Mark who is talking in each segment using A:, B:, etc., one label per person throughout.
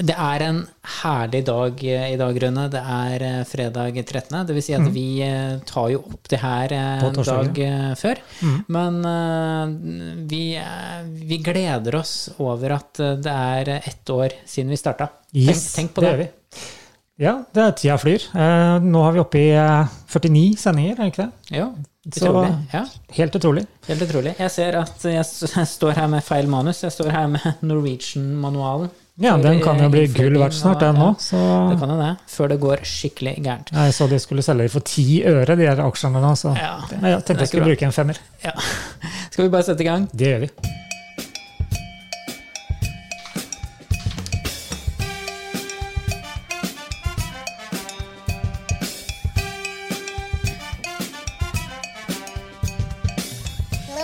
A: Det er en herlig dag eh, i dag, Rune. Det er eh, fredag 13. Det vil si at vi eh, tar jo opp det her eh,
B: Mm. På
A: en
B: torsdag, Mm.
A: dag eh, før. Men eh, vi, eh, vi gleder oss over at eh, det er ett år siden vi starta.
B: Yes,
A: tenk, tenk på det.
B: gjør vi. Ja, det er tida flyr. Eh, nå har vi oppe i eh, 49 sendinger, er det ikke det?
A: Ja,
B: Så-
A: utrolig. Ja,
B: Helt utrolig.
A: helt utrolig. Jeg ser at jeg s- jeg står her med feil manus. Jeg står her med Norwegian-manualen.
B: Ja,
A: For,
B: den kan jo
A: eh,
B: bli
A: innflytting
B: gull verdt snart,
A: og-
B: den
A: ja,
B: òg. Så
A: Det kan jo det. Før det går skikkelig gærent.
B: jeg så de skulle selge de for ti øre, de her aksjene nå, så
A: Ja, det
B: jeg
A: er
B: tenkte jeg
A: ikke
B: skulle bruke en femmer.
A: Ja. Skal vi bare sette i gang?
B: Det gjør vi.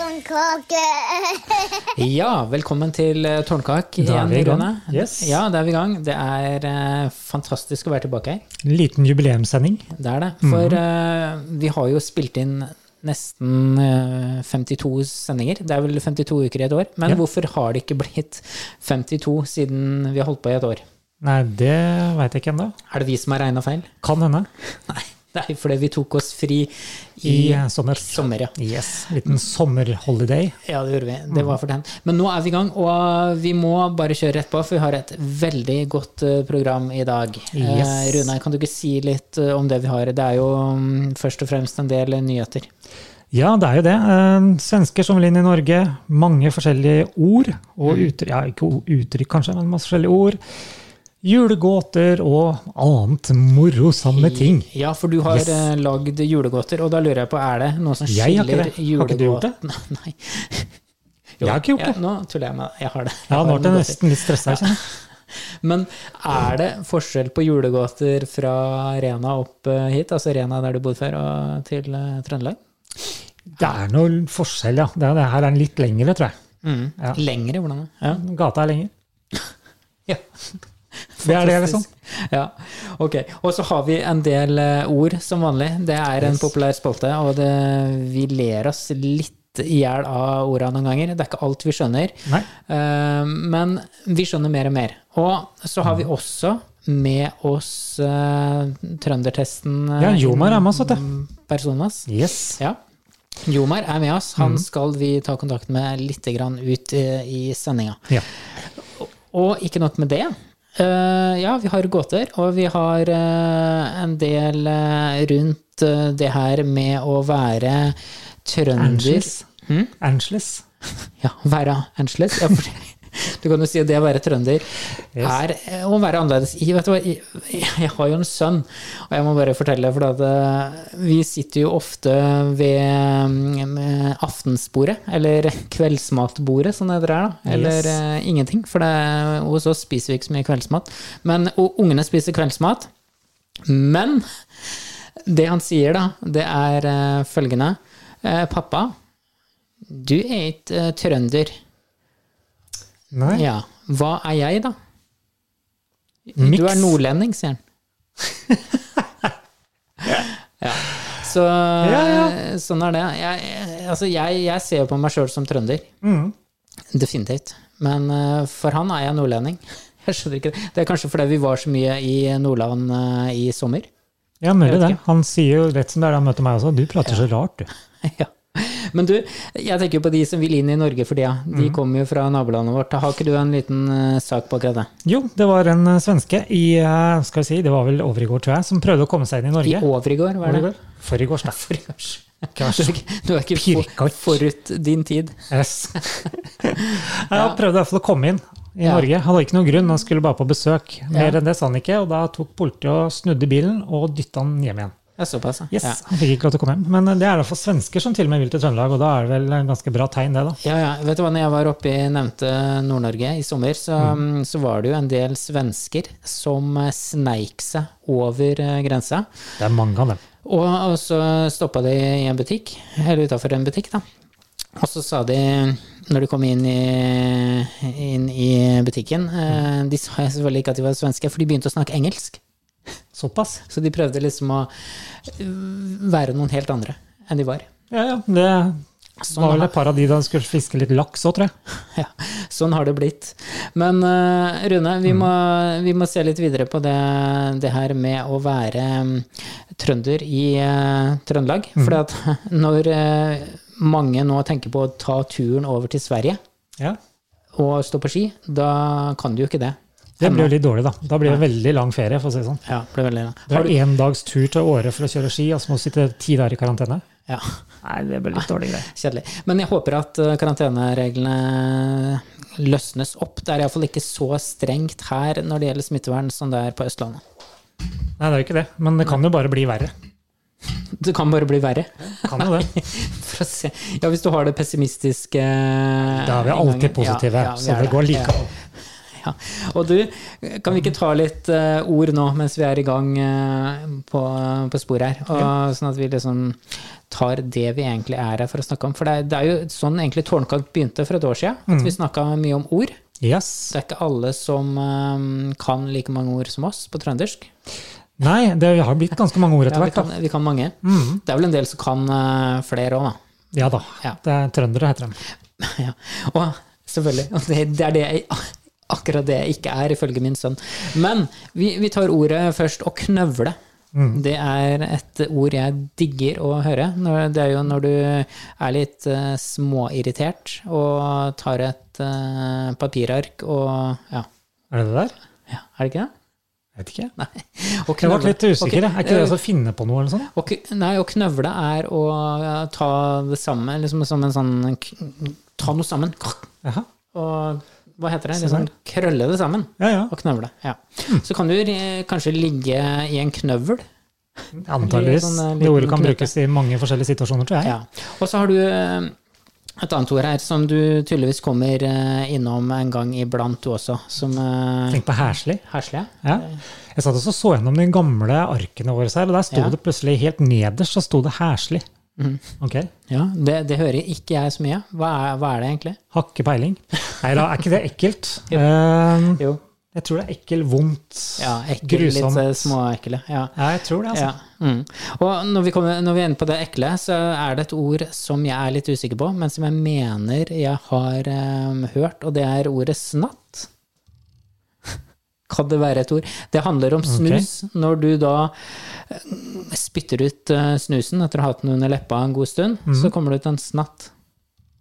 C: Blomkake.
A: Ja, velkommen til eh, Tårnkak
B: Da er
A: igjen,
B: vi i gang.
A: Rune.
B: Yes.
A: Ja, da er vi i gang. Det er eh, fantastisk å være tilbake her.
B: En liten jubileumssending.
A: Det er det.
B: Mhm.
A: For eh, vi har jo spilt inn nesten eh, 52 sendinger. Det er vel 52 uker i et år. Men
B: Ja.
A: hvorfor har det ikke blitt 52 siden vi har holdt på i et år?
B: Nei, det veit jeg ikke ennå.
A: Er det vi som har regna feil?
B: Kan hende.
A: Nei, det er jo fordi vi tok oss fri i,
B: I eh, sommer.
A: sommer, ja.
B: Yes. Liten sommerholiday.
A: Ja, det gjorde vi. Det
B: Mm.
A: var fortjent. Men nå er vi i gang, og vi må bare kjøre rett på, for vi har et veldig godt eh, program i dag.
B: Yes.
A: Eh, Rune, kan du ikke si litt eh, om det vi har? Det er jo mm, først og fremst en del eh, nyheter.
B: Ja, det er jo det. Eh, Svensker som vil inn i Norge. Mange forskjellige ord. Og
A: Mm.
B: uttrykk, ja, ikke o- uttrykk kanskje, men masse forskjellige ord. Julegåter og annet morosomme ting.
A: Ja, for du har
B: Yes.
A: eh, lagd julegåter, og da lurer jeg på, er det noen som
B: Jeg har ikke
A: skiller
B: det. Har ikke du gjort det?
A: julegåten? Nei. Jo,
B: Jeg har ikke gjort
A: ja,
B: det.
A: Nå tuller jeg med deg. Jeg har det. Jeg
B: Ja,
A: har
B: nå ble jeg
A: noen
B: nesten litt stressa. Ja.
A: gåter. Men er det forskjell på julegåter fra Rena opp eh, hit, altså Rena der du bodde før, og til eh, Trøndelag?
B: Det er noe forskjell, ja. Det, er, det her er litt lengre, tror jeg.
A: Mm.
B: Ja.
A: Lengre, hvordan det? Ja.
B: Gata er lenger.
A: Ja.
B: Det er det, liksom.
A: ja. Ok. Og så har vi en del eh, ord, som vanlig. Det er en
B: Yes.
A: populær spalte, og det, vi ler oss litt i hjel av orda noen ganger. Det er ikke alt vi skjønner,
B: Nei.
A: eh, men vi skjønner mer og mer. Og så
B: Mm.
A: har vi også med oss eh, trøndertesten eh,
B: Ja, Jomar er med oss, vet du.
A: Personas.
B: Yes. Mm.
A: Ja. Jomar er med oss. Han skal vi ta kontakt med litt grann ut eh, i sendinga.
B: Ja.
A: Og ikke nok med det. Eh, ja, vi har gåter, og vi har eh, en del eh, rundt eh, det her med å være trønder
B: Angeles.
A: Hm?
B: Angeles.
A: Ja, være Angeles. Ja, for, du kan jo si at det å være trønder
B: Yes.
A: er eh, å være annerledes. I, vet du hva, i- jeg har jo en sønn, og jeg må bare fortelle, for at eh, vi sitter jo ofte ved mm, aftensbordet, eller kveldsmatbordet, som det heter her, da. Eller
B: Yes.
A: eh, ingenting, for det, hos oss spiser vi ikke så mye kveldsmat. Men og ungene spiser kveldsmat. Men det han sier, da, det er eh, følgende. Eh, pappa, du er ikke eh, trønder.
B: Nei.
A: Ja. Hva er jeg, da?
B: Mix.
A: Du er nordlending, sier han. ja. Så
B: Ja,
A: sånn er det. Jeg, jeg- altså, jeg, jeg ser jo på meg sjøl som trønder.
B: Mm.
A: Definitivt. Men eh, for han er jeg nordlending. Jeg skjønner ikke det. Det er kanskje fordi vi var så mye i Nordland eh, i sommer.
B: Ja, mulig
A: Jeg vet
B: det. Han sier jo rett som det er da han møter meg også. Du prater så rart, du.
A: ja. Men du, jeg tenker jo på de som vil inn i Norge for tida.
B: Mm.
A: De kommer jo fra nabolandet vårt. Har ikke du en liten eh, sak på akkurat det?
B: Jo, det var en eh, svenske i eh, skal vi si, det var vel over i går, tror jeg, som prøvde å komme seg inn i
A: I
B: Norge.
A: Overigård, var det?
B: Overgård? Forrigårs, da.
A: Overigård. Du
B: Kanskje.
A: er ikke, du er ikke
B: Pirkort.
A: for, forut din tid.
B: Yes. ja. Han prøvde i hvert fall å komme inn i
A: Ja.
B: Norge. Han hadde ikke noen grunn, han skulle bare på besøk. Mer
A: Ja.
B: enn det sa han ikke, og da tok politiet og snudde bilen og dytta han hjem igjen.
A: Ja, såpass, ja.
B: Yes, Han fikk ikke lov til å komme hjem. Men eh, det er i hvert fall svensker som til og med vil til Trøndelag, og da er det vel en ganske bra tegn, det, da.
A: Ja, ja. Vet du hva, når jeg var oppe i nevnte Nord-Norge i sommer, så, så var det jo en del svensker som eh, sneik seg over eh, grensa.
B: Det er mange av dem.
A: Og, og så stoppa de i en butikk, eller utafor en butikk, da. Og så sa de, når de kom inn i, inn i butikken eh, De sa selvfølgelig ikke at de var svenske, for de begynte å snakke engelsk.
B: Såpass.
A: Så de prøvde liksom å eh, være noen helt andre enn de var.
B: Ja, ja. Det Det var vel et par av de da skulle fiske litt laks òg, tror jeg.
A: Ja, sånn har det blitt. Men eh, Rune, vi, må, vi må se litt videre på det, det her med å være mm, trønder i eh, Trøndelag. For at når eh, mange nå tenker på å ta turen over til Sverige
B: Ja.
A: og stå på ski, da kan du jo ikke det.
B: Det blir jo litt dårlig, da. Da blir det veldig lang ferie, for å si det sånn.
A: Ja, det ble veldig
B: Du har én dags tur til Åre for å kjøre ski, og så må du sitte ti dager i karantene.
A: ja,
B: Nei, det blir litt dårlig greier.
A: kjedelig. Men jeg håper at eh, karantenereglene løsnes opp. Det er iallfall ikke så strengt her når det gjelder smittevern som det er på Østlandet.
B: Nei, det er jo ikke det. Men det kan jo bare bli verre.
A: Det kan bare bli verre.
B: Kan jo det.
A: For å se. Ja, hvis du har det pessimistiske
B: Da er vi alltid positive, så det går like an.
A: Ja. Og du, kan vi ikke ta litt eh, ord nå mens vi er i gang eh, på, på sporet her? Og, Sånn at vi liksom tar det vi egentlig er her for å snakke om. For det er, det er jo sånn egentlig Tårnkamp begynte for et år siden.
B: Mm.
A: At vi snakka mye om ord.
B: Yes.
A: Det er ikke alle som eh, kan like mange ord som oss på trøndersk.
B: Nei, det har blitt ganske mange
A: Ja,
B: ord
A: vi,
B: etter hvert.
A: kan,
B: da. Mm.
A: vi kan mange. Det er vel en del som kan eh, flere òg, da.
B: Ja da.
A: Ja.
B: Det er trøndere, heter de.
A: Ja, og selvfølgelig. Og det, det er det jeg, akkurat det jeg ikke er, ifølge min sønn. Men vi, vi tar ordet først, å knøvle.
B: Mm.
A: Det er et ord jeg digger å høre. Når, det er jo når du er litt eh, småirritert og tar et eh, papirark og ja.
B: Er det det der?
A: ja. Er det ikke det?
B: Vet ikke.
A: Å
B: Jeg ble litt
A: Ok, eh,
B: usikker. jeg. Er ikke det å finne på noe eller sånn?
A: å k- nei, å knøvle er å eh, ta det samme, liksom som en sånn k- Ta noe sammen.
B: Jaha.
A: Og hva heter det? Liksom, krølle det sammen.
B: Ja, ja.
A: Og knøvle. Ja. Så kan du eh, kanskje ligge i en knøvel.
B: Antakeligvis.
A: Sånn, eh,
B: Det ordet
A: liten
B: kan
A: knute.
B: brukes i mange forskjellige situasjoner, tror jeg.
A: Ja. Og så har du eh, et annet ord her som du tydeligvis kommer eh, innom en gang iblant, du også, som eh,
B: Tenk på herselig.
A: hersle.
B: Ja.
A: Eh.
B: Jeg satt også og så gjennom de gamle arkene våre her, og der sto
A: Ja. Mm.
B: det plutselig helt nederst så sto det herselig. Ok,
A: Ja, det, det hører ikke jeg så mye. Hva er, hva er det egentlig?
B: Har ikke peiling. Nei da, er ikke det ekkelt? Eh,
A: Jo.
B: jeg tror det er ekkel, vondt,
A: Ja, ekkel,
B: grusomt.
A: litt eh, småekle. Ja.
B: Ja, jeg tror det, altså.
A: Ja. Mm. Og når vi, kommer, når vi er inne på det ekle, så er det et ord som jeg er litt usikker på, men som jeg mener jeg har eh, hørt, og det er ordet snatt. Kan det være et ord? Det handler om snus. Når du da eh, spytter ut eh, snusen etter å ha hatt den under leppa en god stund,
B: Mhm.
A: så kommer det ut en snatt.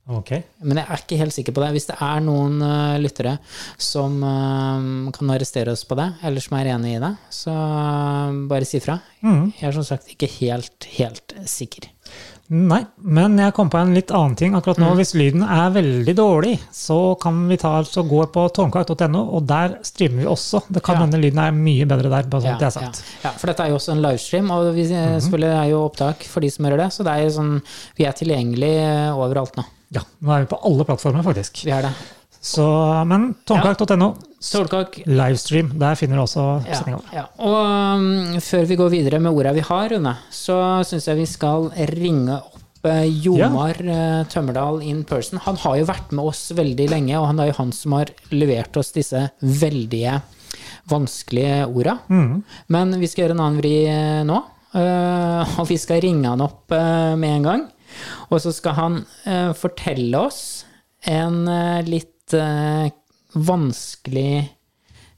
B: Ok.
A: Men jeg er ikke helt sikker på det. Hvis det er noen eh, lyttere som eh, kan arrestere oss på det, eller som er enig i det, så eh, bare si fra.
B: Mm.
A: Jeg er som sagt ikke helt, helt sikker.
B: Nei, men jeg kom på en litt annen ting akkurat
A: Mm.
B: nå. Hvis lyden er veldig dårlig, så kan vi ta altså gå på tårnkart.no, og der streamer vi også. Det kan
A: Ja.
B: hende lyden er mye bedre der, bare sånn at det er Mhm.
A: ja,
B: sagt.
A: ja, for dette er jo også en livestream, og vi eh, selvfølgelig er jo opptak for de som hører det, så det er jo sånn, vi er tilgjengelig eh, overalt nå.
B: Ja. nå er vi på alle plattformer, faktisk.
A: Vi er det.
B: Så, men tårnkart.no,
A: Solkak,
B: livestream, der finner du også
A: Ja,
B: sendinga vår.
A: ja. Og um, før vi går videre med orda vi har, Rune, så syns jeg vi skal ringe opp eh, Jomar eh, Tømmerdal in person. Han har jo vært med oss veldig lenge, og han er jo han som har levert oss disse veldige vanskelige orda. Men vi skal gjøre en annen vri eh, nå, eh, og vi skal ringe han opp eh, med en gang. Og så skal han eh, fortelle oss en eh, litt eh, vanskelig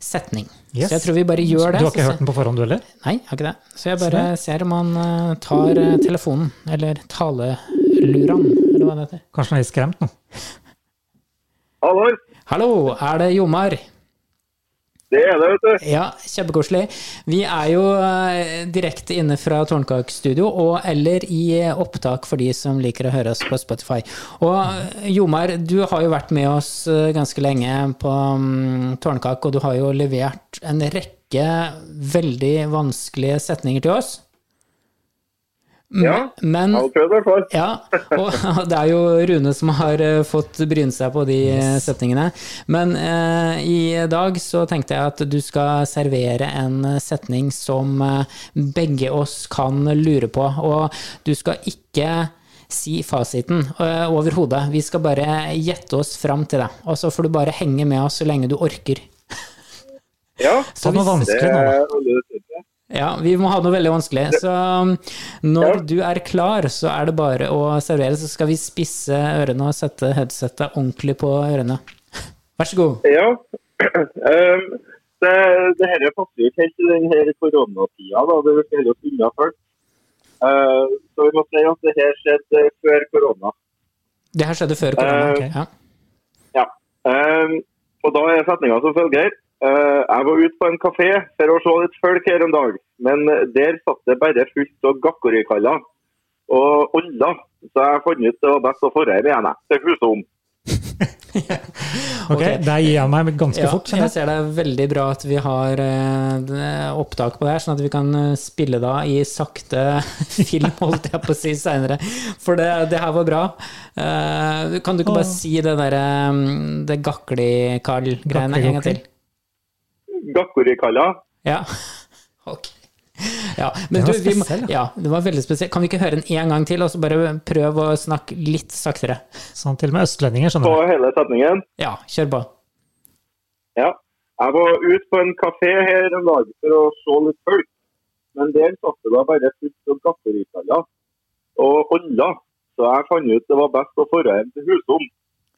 A: setning.
B: Yes.
A: Så jeg tror vi bare gjør det.
B: Du har ikke
A: så
B: hørt den Sånn. på forhånd, du heller?
A: Se, nei, jeg har ikke det. Så jeg bare ser om han eh, tar eh, telefonen, eller taleluran, eller hva det heter.
B: Kanskje han er litt skremt nå?
C: Hallo,
A: Hallo, er det Jomar?
C: det er det, vet du.
A: Ja, kjempekoselig. Vi er jo eh, direkte inne fra Tårnkakestudio, og eller i eh, opptak for de som liker å høre oss på Spotify. Og eh, Jomar, du har jo vært med oss eh, ganske lenge på mm, Tårnkak, og du har jo levert en rekke veldig vanskelige setninger til oss.
C: Ja,
A: Men
C: Jeg har prøvd i hvert fall.
A: ja, og det er jo Rune som har eh, fått bryne seg på de eh, setningene. Men eh, i dag så tenkte jeg at du skal servere en eh, setning som eh, begge oss kan lure på. Og du skal ikke si fasiten eh, overhodet. Vi skal bare gjette oss fram til det. Og så får du bare henge med oss så lenge du orker.
C: Ja,
A: Så
B: Ta noe
A: hvis-
C: det
B: vanskelig nå, da.
C: er veldig utrolig.
A: Ja, vi må ha noe veldig vanskelig. Så um, når du er klar, så er det bare å servere, så skal vi spisse ørene og sette headsetet ordentlig på ørene. Vær så god.
C: Ja. Um, det, det her passer jo ikke helt i denne koronatida, da. Det skjer jo unna først. Uh, så vi må si at det her skjedde før korona.
A: Det her skjedde før korona. ok, ja.
C: Ja. Um, og da er setninga som følger. Eh, jeg var ute på en kafé for å se litt folk her en dag, men eh, der satt det bare fullt av gakkorikaller og oller. Så jeg fant ut det var best å dra hjem igjen, jeg, til huset om.
B: Ok, Der gir jeg meg ganske
A: Ja,
B: fort.
A: jeg
B: kjenner jeg.
A: ser det er veldig bra at vi har eh, det- opptak på det her, sånn at vi kan eh, spille da i sakte film, holdt jeg på å si seinere. For det, det her var bra. Eh, kan du ikke
B: Åh.
A: bare si det derre um, det Gakli-Karl-greiene en gang til?
C: Gakkorikaller.
A: Ja. Ok. Ja, men
B: Det var
A: du, vi må,
B: spesiell,
A: ja, det var veldig spesielt. Kan vi ikke høre den en gang til, og så bare prøv å snakke litt saktere?
B: Sånn, til og med østlendinger
C: på
B: skjønner det.
C: hele setningen.
A: Ja, kjør på.
C: Ja. Jeg var ute på en kafé her en dag for å se litt folk, men der satt det da bare fullt av gakkorikaller og oller. Så jeg fant ut det var best å dra hjem til huset om.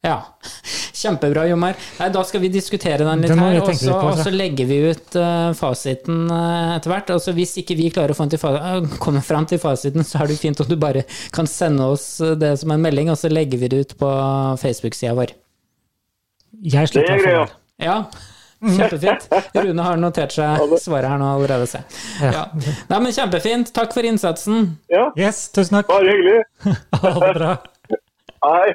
A: Ja. Kjempebra, Jomar. Nei, da skal vi diskutere den litt
B: Den må
A: her,
B: jeg
A: og
B: tenke
A: så,
B: litt på,
A: og
B: altså.
A: så legger vi ut eh, fasiten eh, etter hvert. Altså, hvis ikke vi klarer å få den til fa eh, komme fram til fasiten, så er det jo fint om du bare kan sende oss eh, det som en melding, og så legger vi det ut på Facebook-sida vår.
B: Jeg
C: Det
B: slipper å
C: er
B: få
C: greia.
B: det.
A: Ja, kjempefint. Rune har notert seg svaret her nå allerede, se. Ja. Nei, men kjempefint. Takk for innsatsen.
C: Ja,
B: Yes, tusen takk.
C: bare hyggelig.
B: Ha det bra.
C: Hei.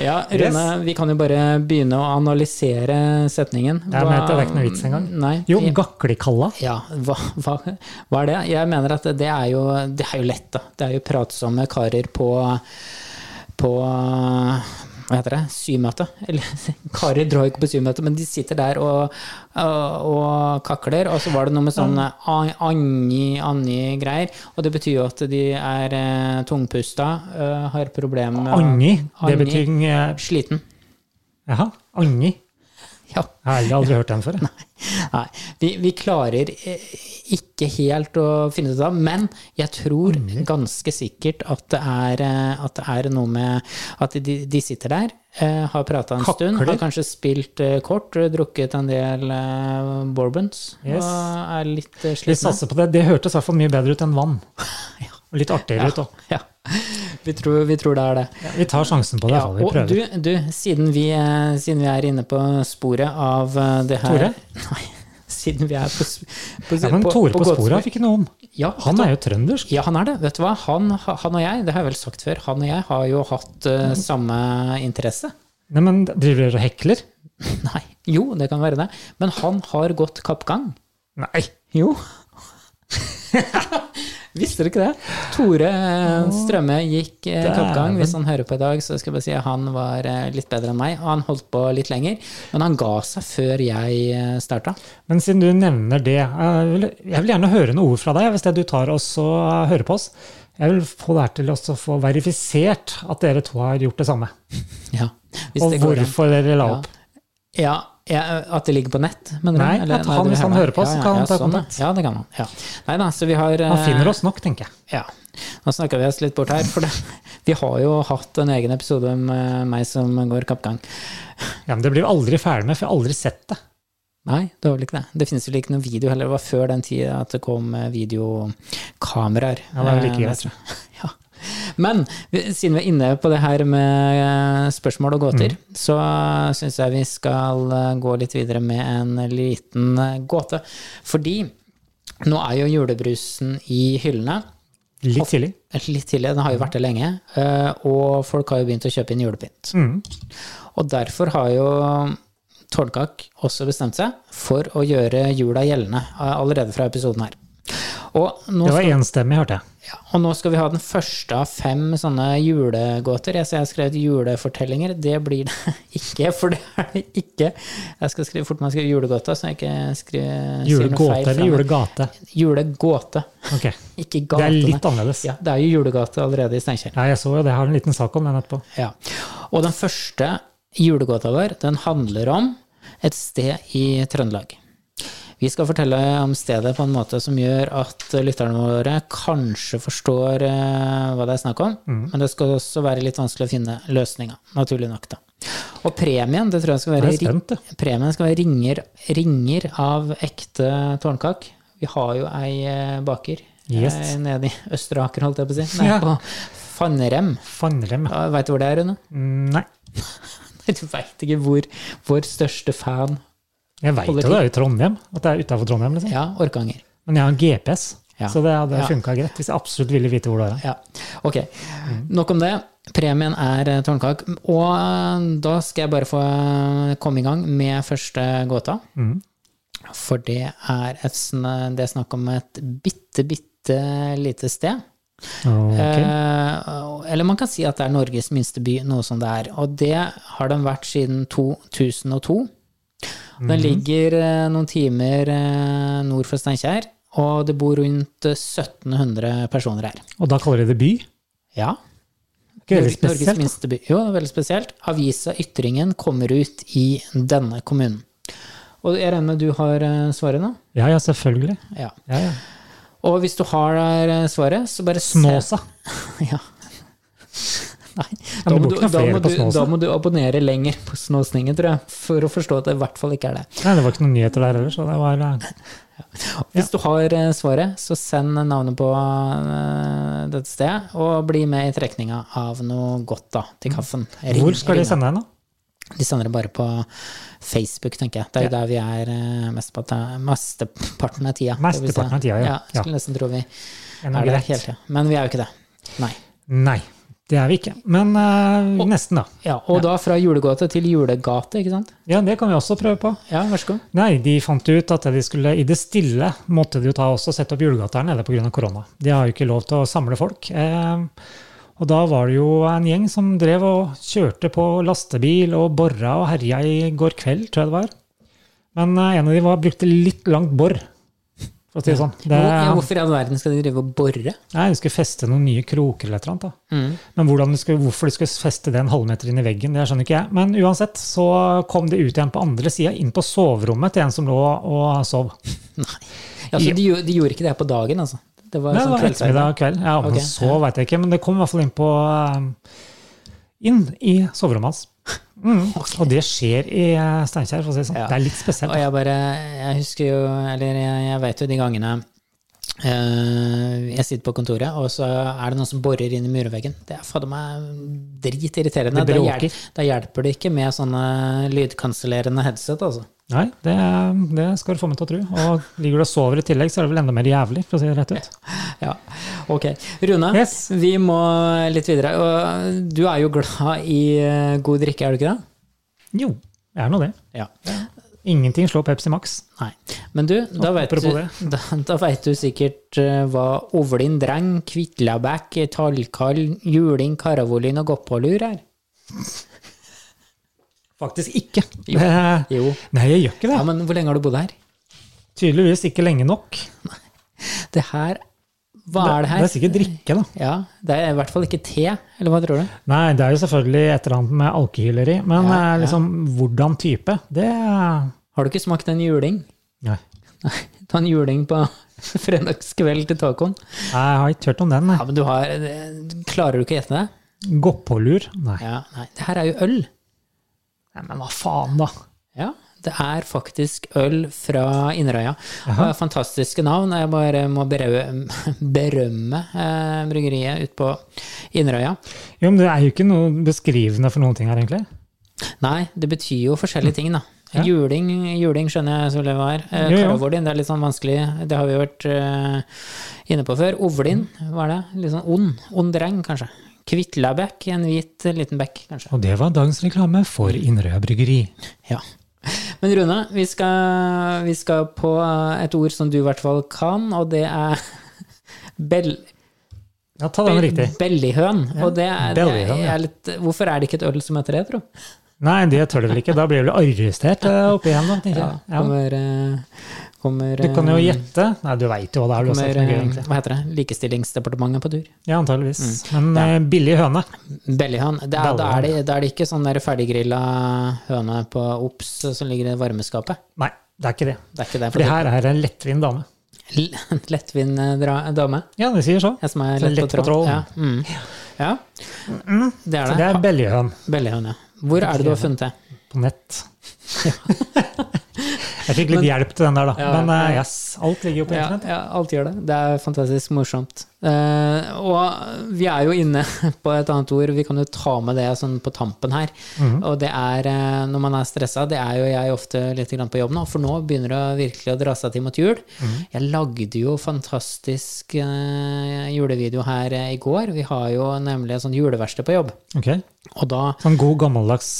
A: Ja, Rune, vi kan jo bare begynne å analysere setningen.
B: Jeg mente det er ikke noe vits engang.
A: Nei.
B: Jo, Gaklikalla.
A: Ja, hva, hva, hva er det? Jeg mener at det er jo, det er jo lett, da. Det er jo pratsomme karer på, på hva heter det? Symøte. Eller, karer drar jo ikke på symøte, men de sitter der og, og, og kakler. Og så var det noe med sånne an- anji- anji-greier. Og det betyr jo at de er eh, tungpusta, eh, har problemer med
B: Anni. Det
A: Anni.
B: betyr eh,
A: Sliten.
B: Jaha, Anni.
A: Ja.
B: Jeg har aldri hørt den før. jeg.
A: Nei, vi, vi klarer eh, ikke helt å finne ut av, men jeg tror
B: Mm.
A: ganske sikkert at det er, eh, at det er noe med at de, de sitter der, eh, har prata en
B: Kakler.
A: stund, har kanskje spilt eh, kort, drukket en del eh, bourbons
B: Yes.
A: og er litt eh,
B: Vi
A: slitne.
B: satser på det. Det hørtes i hvert fall mye bedre ut enn vann. Og litt artigere ut òg.
A: Ja. Vi tror, vi tror det er det.
B: Vi tar sjansen på det. i
A: Ja,
B: hvert fall. vi
A: og
B: prøver.
A: du, du siden, vi, eh, siden vi er inne på sporet av eh, det her
B: Tore?
A: Nei, siden vi er på, sp- på,
B: Ja, men Tore på
A: gåtespor-
B: sporet han fikk ikke noe om.
A: Ja,
B: Han er jo trøndersk.
A: Ja, han er det. Vet du hva? Han, han og jeg, det har jeg vel sagt før, han og jeg har jo hatt
B: Mm.
A: eh, samme interesse.
B: Nei, men Driver dere og hekler?
A: Nei, jo, det kan være det. Men han har gått kappgang.
B: Nei.
A: Jo. Visste du ikke det? Tore eh, Strømme gikk eh, kappgang. Hvis han hører på i dag, så skal jeg bare si at han var eh, litt bedre enn meg. Og han holdt på litt lenger, men han ga seg før jeg eh, starta.
B: Men siden du nevner det, eh, jeg vil, jeg vil gjerne høre noe ord fra deg hvis det er du tar oss og eh, hører på oss. Jeg vil få det her til også å få verifisert at dere to har gjort det samme.
A: Ja, hvis
B: Og
A: det går an.
B: hvorfor dere la opp.
A: Ja, ja, at det ligger på nett, mener du?
B: Nei, at han,
A: du
B: hvis han
A: meg?
B: hører på oss, kan han ta
A: sånn, ja.
B: kontakt.
A: Ja, det kan han. Ja. Nei da, så vi har eh,
B: Han finner oss nok, tenker jeg.
A: Ja. Nå snakka vi oss litt bort her, for det, vi har jo hatt en egen episode om eh, meg som går kappgang.
B: Ja, men Det blir vi aldri ferdig med, for jeg har aldri sett det.
A: Nei, det var vel ikke det. Det finnes vel ikke noen video heller. Det var før den tida at det kom eh, videokameraer.
B: Ja, det er vel
A: eh,
B: like greit.
A: nesten. Ja. Men vi- siden vi er inne på det her med eh, spørsmål og gåter,
B: Mm.
A: så syns jeg vi skal eh, gå litt videre med en liten eh, gåte. Fordi nå er jo julebrusen i hyllene.
B: Litt tidlig.
A: Litt tidlig, den har jo vært det lenge. eh, Og folk har jo begynt å kjøpe inn julepynt.
B: Mm.
A: Og derfor har jo Tordkak også bestemt seg for å gjøre jula gjeldende eh, allerede fra episoden her. Og nå,
B: Det var enstemmig, hørte jeg.
A: ja, og nå skal vi ha den første av fem sånne julegåter. Jeg ser jeg har skrevet julefortellinger. Det blir det ikke, for det er det ikke. Jeg skal skrive fort man skriver julegåta, så jeg ikke skriver, sier noe feil.
B: Julegåte
A: fra
B: eller
A: meg.
B: julegate?
A: Julegåte,
B: Ok,
A: ikke
B: Det
A: gatene.
B: er litt annerledes.
A: Ja, det er jo julegate allerede i Steinkjer.
B: Ja, jeg så jo det. Jeg har en liten sak om den etterpå.
A: Ja. Og den første julegåta vår, den handler om et sted i Trøndelag. Vi skal fortelle om stedet på en måte som gjør at lytterne våre kanskje forstår eh, hva det er snakk om,
B: Mm.
A: men det skal også være litt vanskelig å finne løsninga, naturlig nok, da. Og premien, det tror jeg skal være,
B: Jeg er spent, jeg.
A: ri- premien skal være ringer, ringer av ekte tårnkak. Vi har jo ei eh, baker
B: Yes.
A: eh, nede i Østre Aker, holdt jeg på å si. Nei,
B: Ja.
A: på Fannrem.
B: Fannrem.
A: Ja, Veit du hvor det er, Rune?
B: Nei.
A: Du veit ikke hvor vår største fan
B: Jeg veit jo
A: Holder
B: det er i Trondheim, at det er utafor Trondheim. liksom.
A: Ja, Orkanger.
B: Men jeg har en GPS,
A: Ja.
B: så det hadde
A: Ja.
B: funka greit. Hvis jeg absolutt ville vite hvor det er.
A: Ja. Ok, nok om det. Premien er eh, tårnkak. Og eh, da skal jeg bare få eh, komme i gang med første gåta.
B: Mhm.
A: For det er, et, sn- det er snakk om et bitte, bitte lite sted.
B: Ok.
A: Eh, eller man kan si at det er Norges minste by, noe som det er. Og det har den vært siden 2002.
B: Mhm.
A: Den ligger eh, noen timer eh, nord for Steinkjer, og det bor rundt eh, 1700 personer her.
B: Og da kaller de det by?
A: Ja,
B: Ikke veldig
A: Nor- Norges
B: spesielt. da.
A: minste by. Jo, det er veldig spesielt. Avisa Ytringen kommer ut i denne kommunen. Og jeg regner med du har eh, svaret nå?
B: Ja, ja, selvfølgelig.
A: Ja.
B: Ja, ja.
A: Og hvis du har der eh, svaret, så bare se-
B: Snåsa.
A: Ja. Nei.
B: men
A: Da
B: det
A: må,
B: bor
A: du,
B: ikke noe
A: da,
B: flere
A: må
B: på
A: du,
B: Snåsa.
A: da må du abonnere lenger på Snåsningen, tror jeg, for å forstå at det i hvert fall ikke er det.
B: Nei, det var ikke noen nyheter der heller, så det var eh,
A: Hvis du har eh, svaret, så send navnet på eh, dette stedet, og bli med i trekninga av noe godt da, til kaffen. Ring-
B: Mm. Hvor skal de
A: ring oss.
B: sende deg, da?
A: De sender det bare på Facebook, tenker jeg. Det er jo der vi er eh, mest på ta- mesteparten av tida. det vil si.
B: Mesteparten av tida, ja.
A: Jeg skulle nesten tro vi
B: Er
A: er
B: noe
A: der
B: greit?
A: hele tida. Men vi er jo ikke det. Nei.
B: Nei, det er vi ikke. Men eh, nesten, da.
A: Ja, og da fra julegate til julegate, ikke sant?
B: Ja, det kan vi også prøve på.
A: Ja, vær så god.
B: Nei, de fant ut at de skulle i det stille måtte de jo ta også sette opp julegata her nede pga. korona. De har jo ikke lov til å samle folk. Eh, og da var det jo en gjeng som drev og kjørte på lastebil og borra og herja i går kveld, tror jeg det var. Men eh, en av de var, brukte litt langt borr, for å si det sånn. Det,
A: Hvor- ja, hvorfor i all verden skal de drive og bore?
B: Nei, de skulle feste noen nye kroker eller et eller annet. Da.
A: Mm.
B: Men hvordan de skulle, hvorfor de skulle feste det en halvmeter inn i veggen, det skjønner ikke jeg. Men uansett så kom det ut igjen på andre sida, inn på soverommet til en som lå og sov.
A: Ja, så de, gjo- de gjorde ikke det her på dagen, altså? Det var
B: Nei, det
A: sånn
B: var
A: kveldsarbeid.
B: ettermiddag og kveld. Ja, om
A: Ok,
B: han sov, veit jeg ikke, men det kom i hvert fall inn på eh, Inn i soverommet hans. Mm. Og det skjer i eh, Steinkjer, for å si det sånn.
A: Ja.
B: Det er litt spesielt.
A: Og jeg bare Jeg husker jo, eller jeg, jeg vet jo de gangene eh, jeg sitter på kontoret, og så er det noen som borer inn i murveggen. Det er fader meg dritirriterende.
B: Det
A: Da,
B: bråker.
A: hjelp, da hjelper det ikke med sånne lydkansellerende headset, altså.
B: Nei, det, um, det skal du få meg til å tro. Og ligger du og sover i tillegg, så er det vel enda mer jævlig, for å si det rett ut.
A: Ja, ok. Rune,
B: Yes.
A: vi må litt videre. Og du er jo glad i eh, god drikke, er du ikke det?
B: Jo, det er nå det.
A: Ja.
B: Ingenting slår Pepsi Max.
A: Nei. Men du, da vet
B: Apropos
A: du, da, da vet du sikkert eh, hva Ovlin, Dreng, Kvitlabekk, Tallkall, Juling, Karavolin og Goppålur er.
B: Faktisk ikke.
A: Jo.
B: Eh,
A: Jo.
B: Nei, jeg gjør ikke det.
A: Ja, men hvor lenge har du bodd her?
B: Tydeligvis ikke lenge nok.
A: Det her Hva er det her?
B: Det er sikkert drikke, da.
A: Ja, det er i hvert fall ikke te, eller hva tror du?
B: Nei, det er jo selvfølgelig et eller annet med alkehyleri, men
A: Ja,
B: eh, liksom hvordan type, det eh,
A: Har du ikke smakt en juling?
B: Nei.
A: Nei, ta en juling på fredagskveld til tacoen.
B: Jeg har ikke hørt om den.
A: Ja, men du har eh, Klarer du ikke å gjette det?
B: nei. Goppålur? Nei.
A: Ja, nei. Det her er jo øl.
B: nei. Men hva faen, da?
A: Ja, det er faktisk øl fra Inderøya. Og Fantastiske navn. Jeg bare må berømme, berømme eh, bryggeriet ute på Inderøya.
B: Jo, men det er jo ikke noe beskrivende for noen ting her, egentlig.
A: Nei, det betyr jo forskjellige ting, da.
B: Mm. Ja.
A: Juling, juling skjønner jeg så det var. Eh,
B: Jo, jo.
A: Karavordin, det er litt sånn vanskelig. Det har vi vært eh, inne på før. Ovlin,
B: Mm.
A: hva er det? Litt sånn ond. Ond dreng, kanskje. Kvitlabekk, en hvit eh, liten bekk, kanskje.
B: Og det var dagens reklame for Inderøya Bryggeri.
A: Ja. Men Rune, vi skal, vi skal på eh, et ord som du i hvert fall kan, og det er bell,
B: Ja, ta den riktig.
A: bellyhøn. Og det er, det er,
B: Bellyhøn, ja.
A: er litt, hvorfor er det ikke et øl som heter det, tro?
B: Nei, det tør du vel ikke. Da blir du arrestert eh, oppe igjen, da, tenker jeg. Ja.
A: Kommer, eh, kommer
B: Du kan jo
A: eh,
B: gjette. Nei, du veit jo hva det er. du har
A: kommer,
B: sagt noe gøy,
A: eh,
B: egentlig.
A: Hva heter det? Likestillingsdepartementet på tur.
B: Ja, antageligvis. Men eh, billig høne.
A: Bellyhøn. Det er, da,
B: Bellyhøn.
A: er det, da er det ikke sånn der ferdiggrilla høne på Ops som ligger i varmeskapet.
B: Nei. Det er ikke det.
A: Det er ikke det.
B: For det her er en lettvint dame.
A: L- lettvint eh, dra- dame.
B: Ja, det sier så.
A: En som er
B: Så
A: lett,
B: lett
A: på
B: på
A: tråden.
B: tråden.
A: Ja. Mm. ja, det er
B: Mm. Så
A: det.
B: det er Bellehøen
A: Bellehøne. Hvor er det du har funnet det?
B: på nett. Jeg fikk litt hjelp til den der, da.
A: Ja,
B: Men eh,
A: ja.
B: yes, alt ligger jo på
A: Ja,
B: internett.
A: ja, alt gjør det. Det er fantastisk morsomt. Eh, og vi er jo inne på et annet ord, vi kan jo ta med det sånn på tampen her.
B: Mhm.
A: Og det er, eh, når man er stressa, det er jo jeg ofte litt grann på jobb nå, for nå begynner det å virkelig å dra seg til mot jul.
B: Mhm.
A: Jeg lagde jo fantastisk eh, julevideo her eh, i går. Vi har jo nemlig et sånt juleverksted på jobb.
B: Ok.
A: Og da
B: Sånn god gammeldags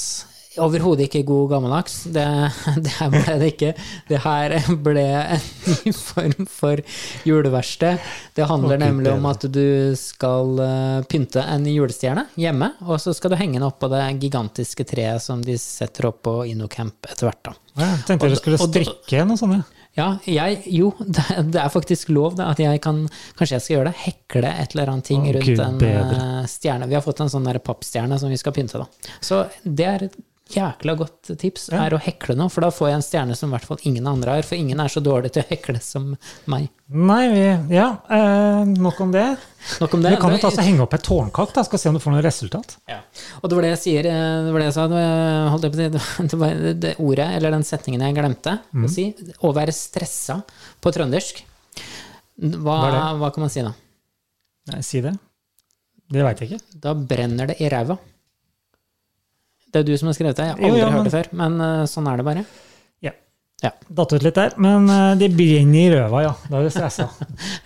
A: Overhodet ikke god gammeldags. Det, det her ble det ikke. Det her ble en ny form for juleverksted. Det handler
B: Å, Gud
A: nemlig om
B: bedre.
A: at du skal eh, pynte en julestjerne hjemme, og så skal du henge den oppå det gigantiske treet som de setter opp på InnoCamp etter hvert. da.
B: ja, jeg Tenkte dere skulle
A: og da-
B: strikke noe sånt. ja.
A: Ja, jeg, jo, det, det er faktisk lov det, at jeg kan Kanskje jeg skal gjøre det? Hekle et eller annet ting
B: Å,
A: rundt
B: Gud,
A: en
B: bedre.
A: eh, stjerne. Vi har fått en sånn der pappstjerne som vi skal pynte, da. Så det er et jækla godt tips, er å hekle noe, for da får jeg en stjerne som i hvert fall ingen andre har, for ingen er så dårlig til å hekle som meg.
B: Nei, vi Ja, eh, nok om det.
A: Nok om det.
B: Vi kan jo
A: Det-
B: ta oss og henge opp et tårnkart, da, skal se om du får noe resultat.
A: Ja. Og det var det jeg sier, eh, det var det jeg sa, det var- holdt jeg på å si, det var- det var det ordet, eller den setningen jeg glemte å
B: Mm.
A: si, å være stressa på trøndersk. Hva, hva kan man si da?
B: Nei, si det. Det veit jeg ikke.
A: Da brenner det i ræva. Det er du som har skrevet det, jeg har
B: Jo,
A: aldri
B: ja,
A: hørt det
B: men-
A: før. Men eh, sånn er det bare.
B: Ja.
A: Ja.
B: Datt ut litt der. Men eh, det brenner i røva, ja. Da er du stressa.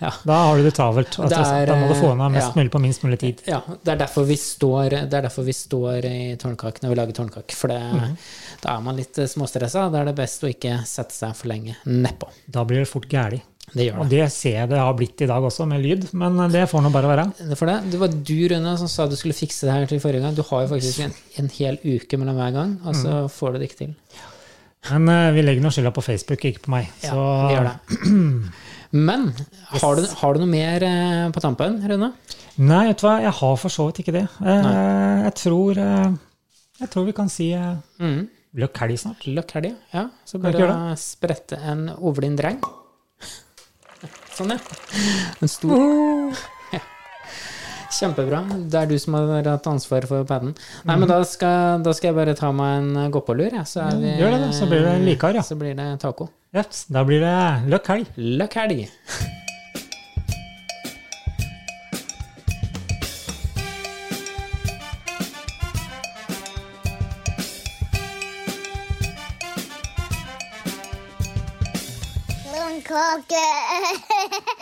A: Ja.
B: Da har du det travelt. og
A: Det er, eh,
B: stresset. Da må du få unna mest
A: ja.
B: mulig på minst mulig tid.
A: ja det, er derfor vi står, det er derfor vi står i tårnkake når vi lager tårnkake. For det,
B: Mhm.
A: da er man litt eh, småstressa. Da er det best å ikke sette seg for lenge nedpå.
B: Da blir det fort gæli.
A: Det gjør
B: Og
A: det.
B: det ser jeg det har blitt i dag også, med lyd. Men eh, det får nå bare være.
A: For det, det var du, Rune, som sa du skulle fikse det her til forrige gang. Du har jo faktisk en, en hel uke mellom hver gang, og så
B: Mhm.
A: får du det ikke til.
B: Men eh, vi legger nå skylda på Facebook, ikke på meg.
A: Ja,
B: Så
A: vi gjør det. Men har du, har du noe mer eh, på tampen, Rune?
B: Nei, vet du hva, jeg har for så vidt ikke det. Eh, jeg, tror, eh, jeg tror vi kan si eh,
A: Mm.
B: Blir det helg snart?
A: Løkk helg, ja. Ja, Så
B: Kan vi ikke gjøre
A: bare sprette en ovlin dreng. Sånn, ja. En stor Ja. Kjempebra. Det er du som har hatt ansvaret for paden. Nei, men da
B: Mhm.
A: skal, da skal jeg bare ta meg en gåpålur, jeg. Så er vi
B: gjør det, da. Så blir det likere, ja.
A: Så blir det taco.
B: Yes, da blir det løkk helg.
A: Løkk helg!
D: Lone Cocker.